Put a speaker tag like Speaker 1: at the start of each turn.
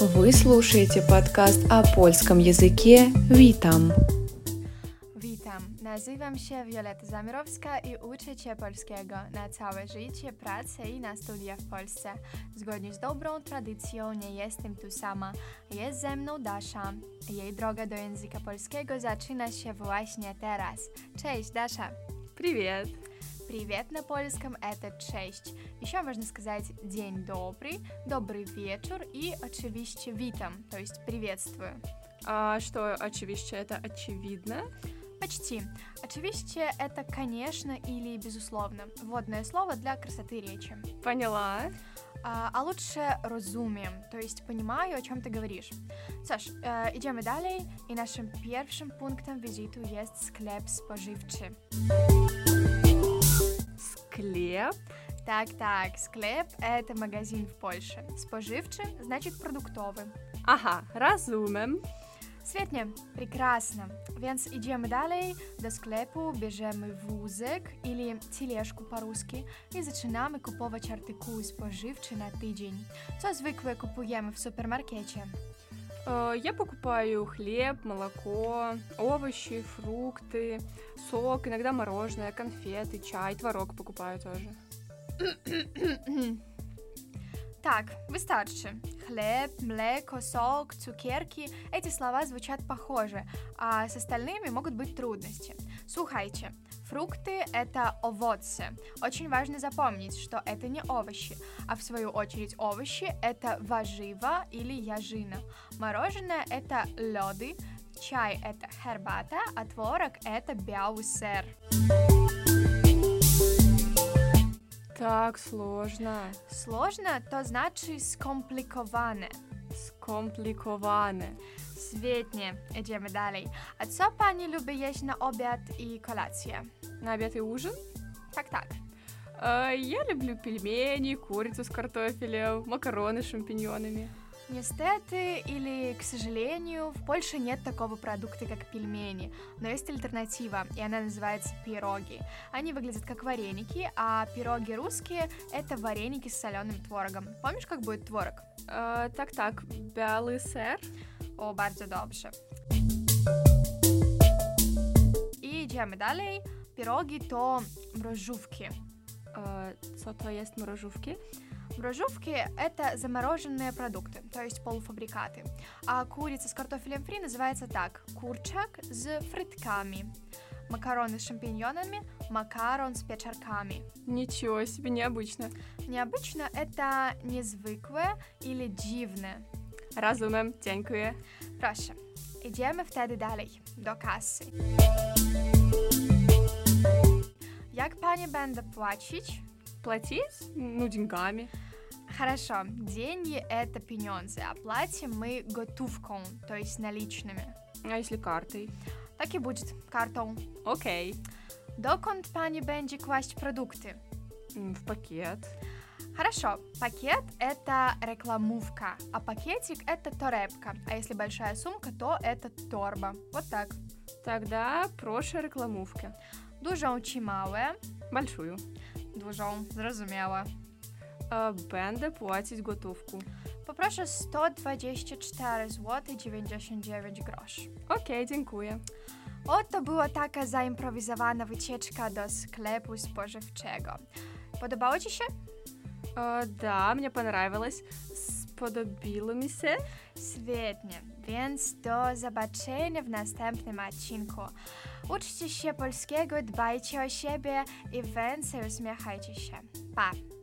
Speaker 1: Вы слушаете подкаст о польском языке «Witam».
Speaker 2: Witam, nazywam się Wioleta Zamrowska i uczę się polskiego na całe życie, pracę i na studia w Polsce. Zgodnie z dobrą tradycją nie jestem tu sama. Jest ze mną Dasza. Jej droga do języka polskiego zaczyna się właśnie teraz. Cześć, Dasza!
Speaker 3: Привет!
Speaker 2: Привет на польском это cześć. Еще можно сказать день добрый, добрый вечер и, очевидно, witam, то есть приветствую.
Speaker 3: А что очевидно? Это очевидно.
Speaker 2: Почти. Очевидно, это конечно или безусловно. Вводное слово для красоты речи.
Speaker 3: Поняла.
Speaker 2: А, а лучше разумеем, то есть понимаю, о чем ты говоришь. Саш, э, идем и далее, и нашим первым пунктом визиту есть склеп споживчи.
Speaker 3: Склеп.
Speaker 2: Так, так, склеп – это магазин в Польше. Споживчи – значит продуктовый.
Speaker 3: Ага, разумем.
Speaker 2: Светне, прекрасно. Więc idziemy dalej do sklepu, bierzemy wózek или тележку по-русски i zaczynamy kupować artykuły spożywcze na tydzień. Co zwykle kupujemy w supermarkecie?
Speaker 3: Э, Я покупаю хлеб, молоко, овощи, фрукты, сок, иногда мороженое, конфеты, чай, творог покупаю тоже.
Speaker 2: Tak, wystarczy. Chleb, mleko, sok, cukierki – эти слова звучат похоже, а с остальными могут быть трудности. Слухайте, фрукты – это овоцы. Очень важно запомнить, что это не овощи, а в свою очередь овощи – это важива или яжина. Мороженое – это лёды, чай – это хербата, а творог – это бяусер.
Speaker 3: Так сложно.
Speaker 2: Сложно, то значит скомпликовано.
Speaker 3: Скомпликоване.
Speaker 2: Świetnie, idziemy dalej. A co pani lubi jeść na obiad i kolację?
Speaker 3: На обед и ужин?
Speaker 2: Tak, tak.
Speaker 3: Э, Я люблю пельмени, курицу с картофелем, макароны с шампиньонами.
Speaker 2: Niestety или к сожалению, в Польше нет такого продукта, как пельмени, но есть альтернатива, и она называется пироги. Они выглядят как вареники, а пироги русские — это вареники с соленым творогом. Помнишь, как будет творог?
Speaker 3: Э, Так-так, белый сэр.
Speaker 2: O, bardzo dobrze. I idziemy dalej. Pierogi to mrożówki.
Speaker 3: Э, Что то есть морожувки?
Speaker 2: Мрожовки – это замороженные продукты, то есть полуфабрикаты. А курица с картофелем фри называется так – курчак с фритками. Макароны с шампиньонами – макарон с печарками.
Speaker 3: Ничего себе, необычно.
Speaker 2: Необычно это незвыклое или дивное.
Speaker 3: Разумем, тянькуя.
Speaker 2: Прошу, идем втedy dalej, до кассы. Як пані będę płacić?
Speaker 3: Платить? Ну, деньгами.
Speaker 2: Хорошо, деньги – это пенензы, а платим мы готовком, то есть наличными.
Speaker 3: А если картой?
Speaker 2: Так и будет, картон.
Speaker 3: Окей.
Speaker 2: Доконт пани Бенджи класть продукты?
Speaker 3: М, В пакет.
Speaker 2: Хорошо, пакет – это рекламувка, а пакетик – это торепка, а если большая сумка, то это торба. Вот так.
Speaker 3: Тогда прошу рекламовки.
Speaker 2: Дужон чимале,
Speaker 3: Большую.
Speaker 2: дужон, зрозумела.
Speaker 3: Э, Бенда платить готовку.
Speaker 2: Попрошу 124 злоти 99 грош.
Speaker 3: Окей, дякую.
Speaker 2: Oto była taka zaimprowizowana wycieczka do sklepu spożywczego. Podobało Ci się?
Speaker 3: Э, Да, мне понравилось. Сподобиломися.
Speaker 2: Świetnie, więc do zobaczenia w następnym odcinku. Uczcie się polskiego, dbajcie o siebie i więcej uśmiechajcie się. Pa!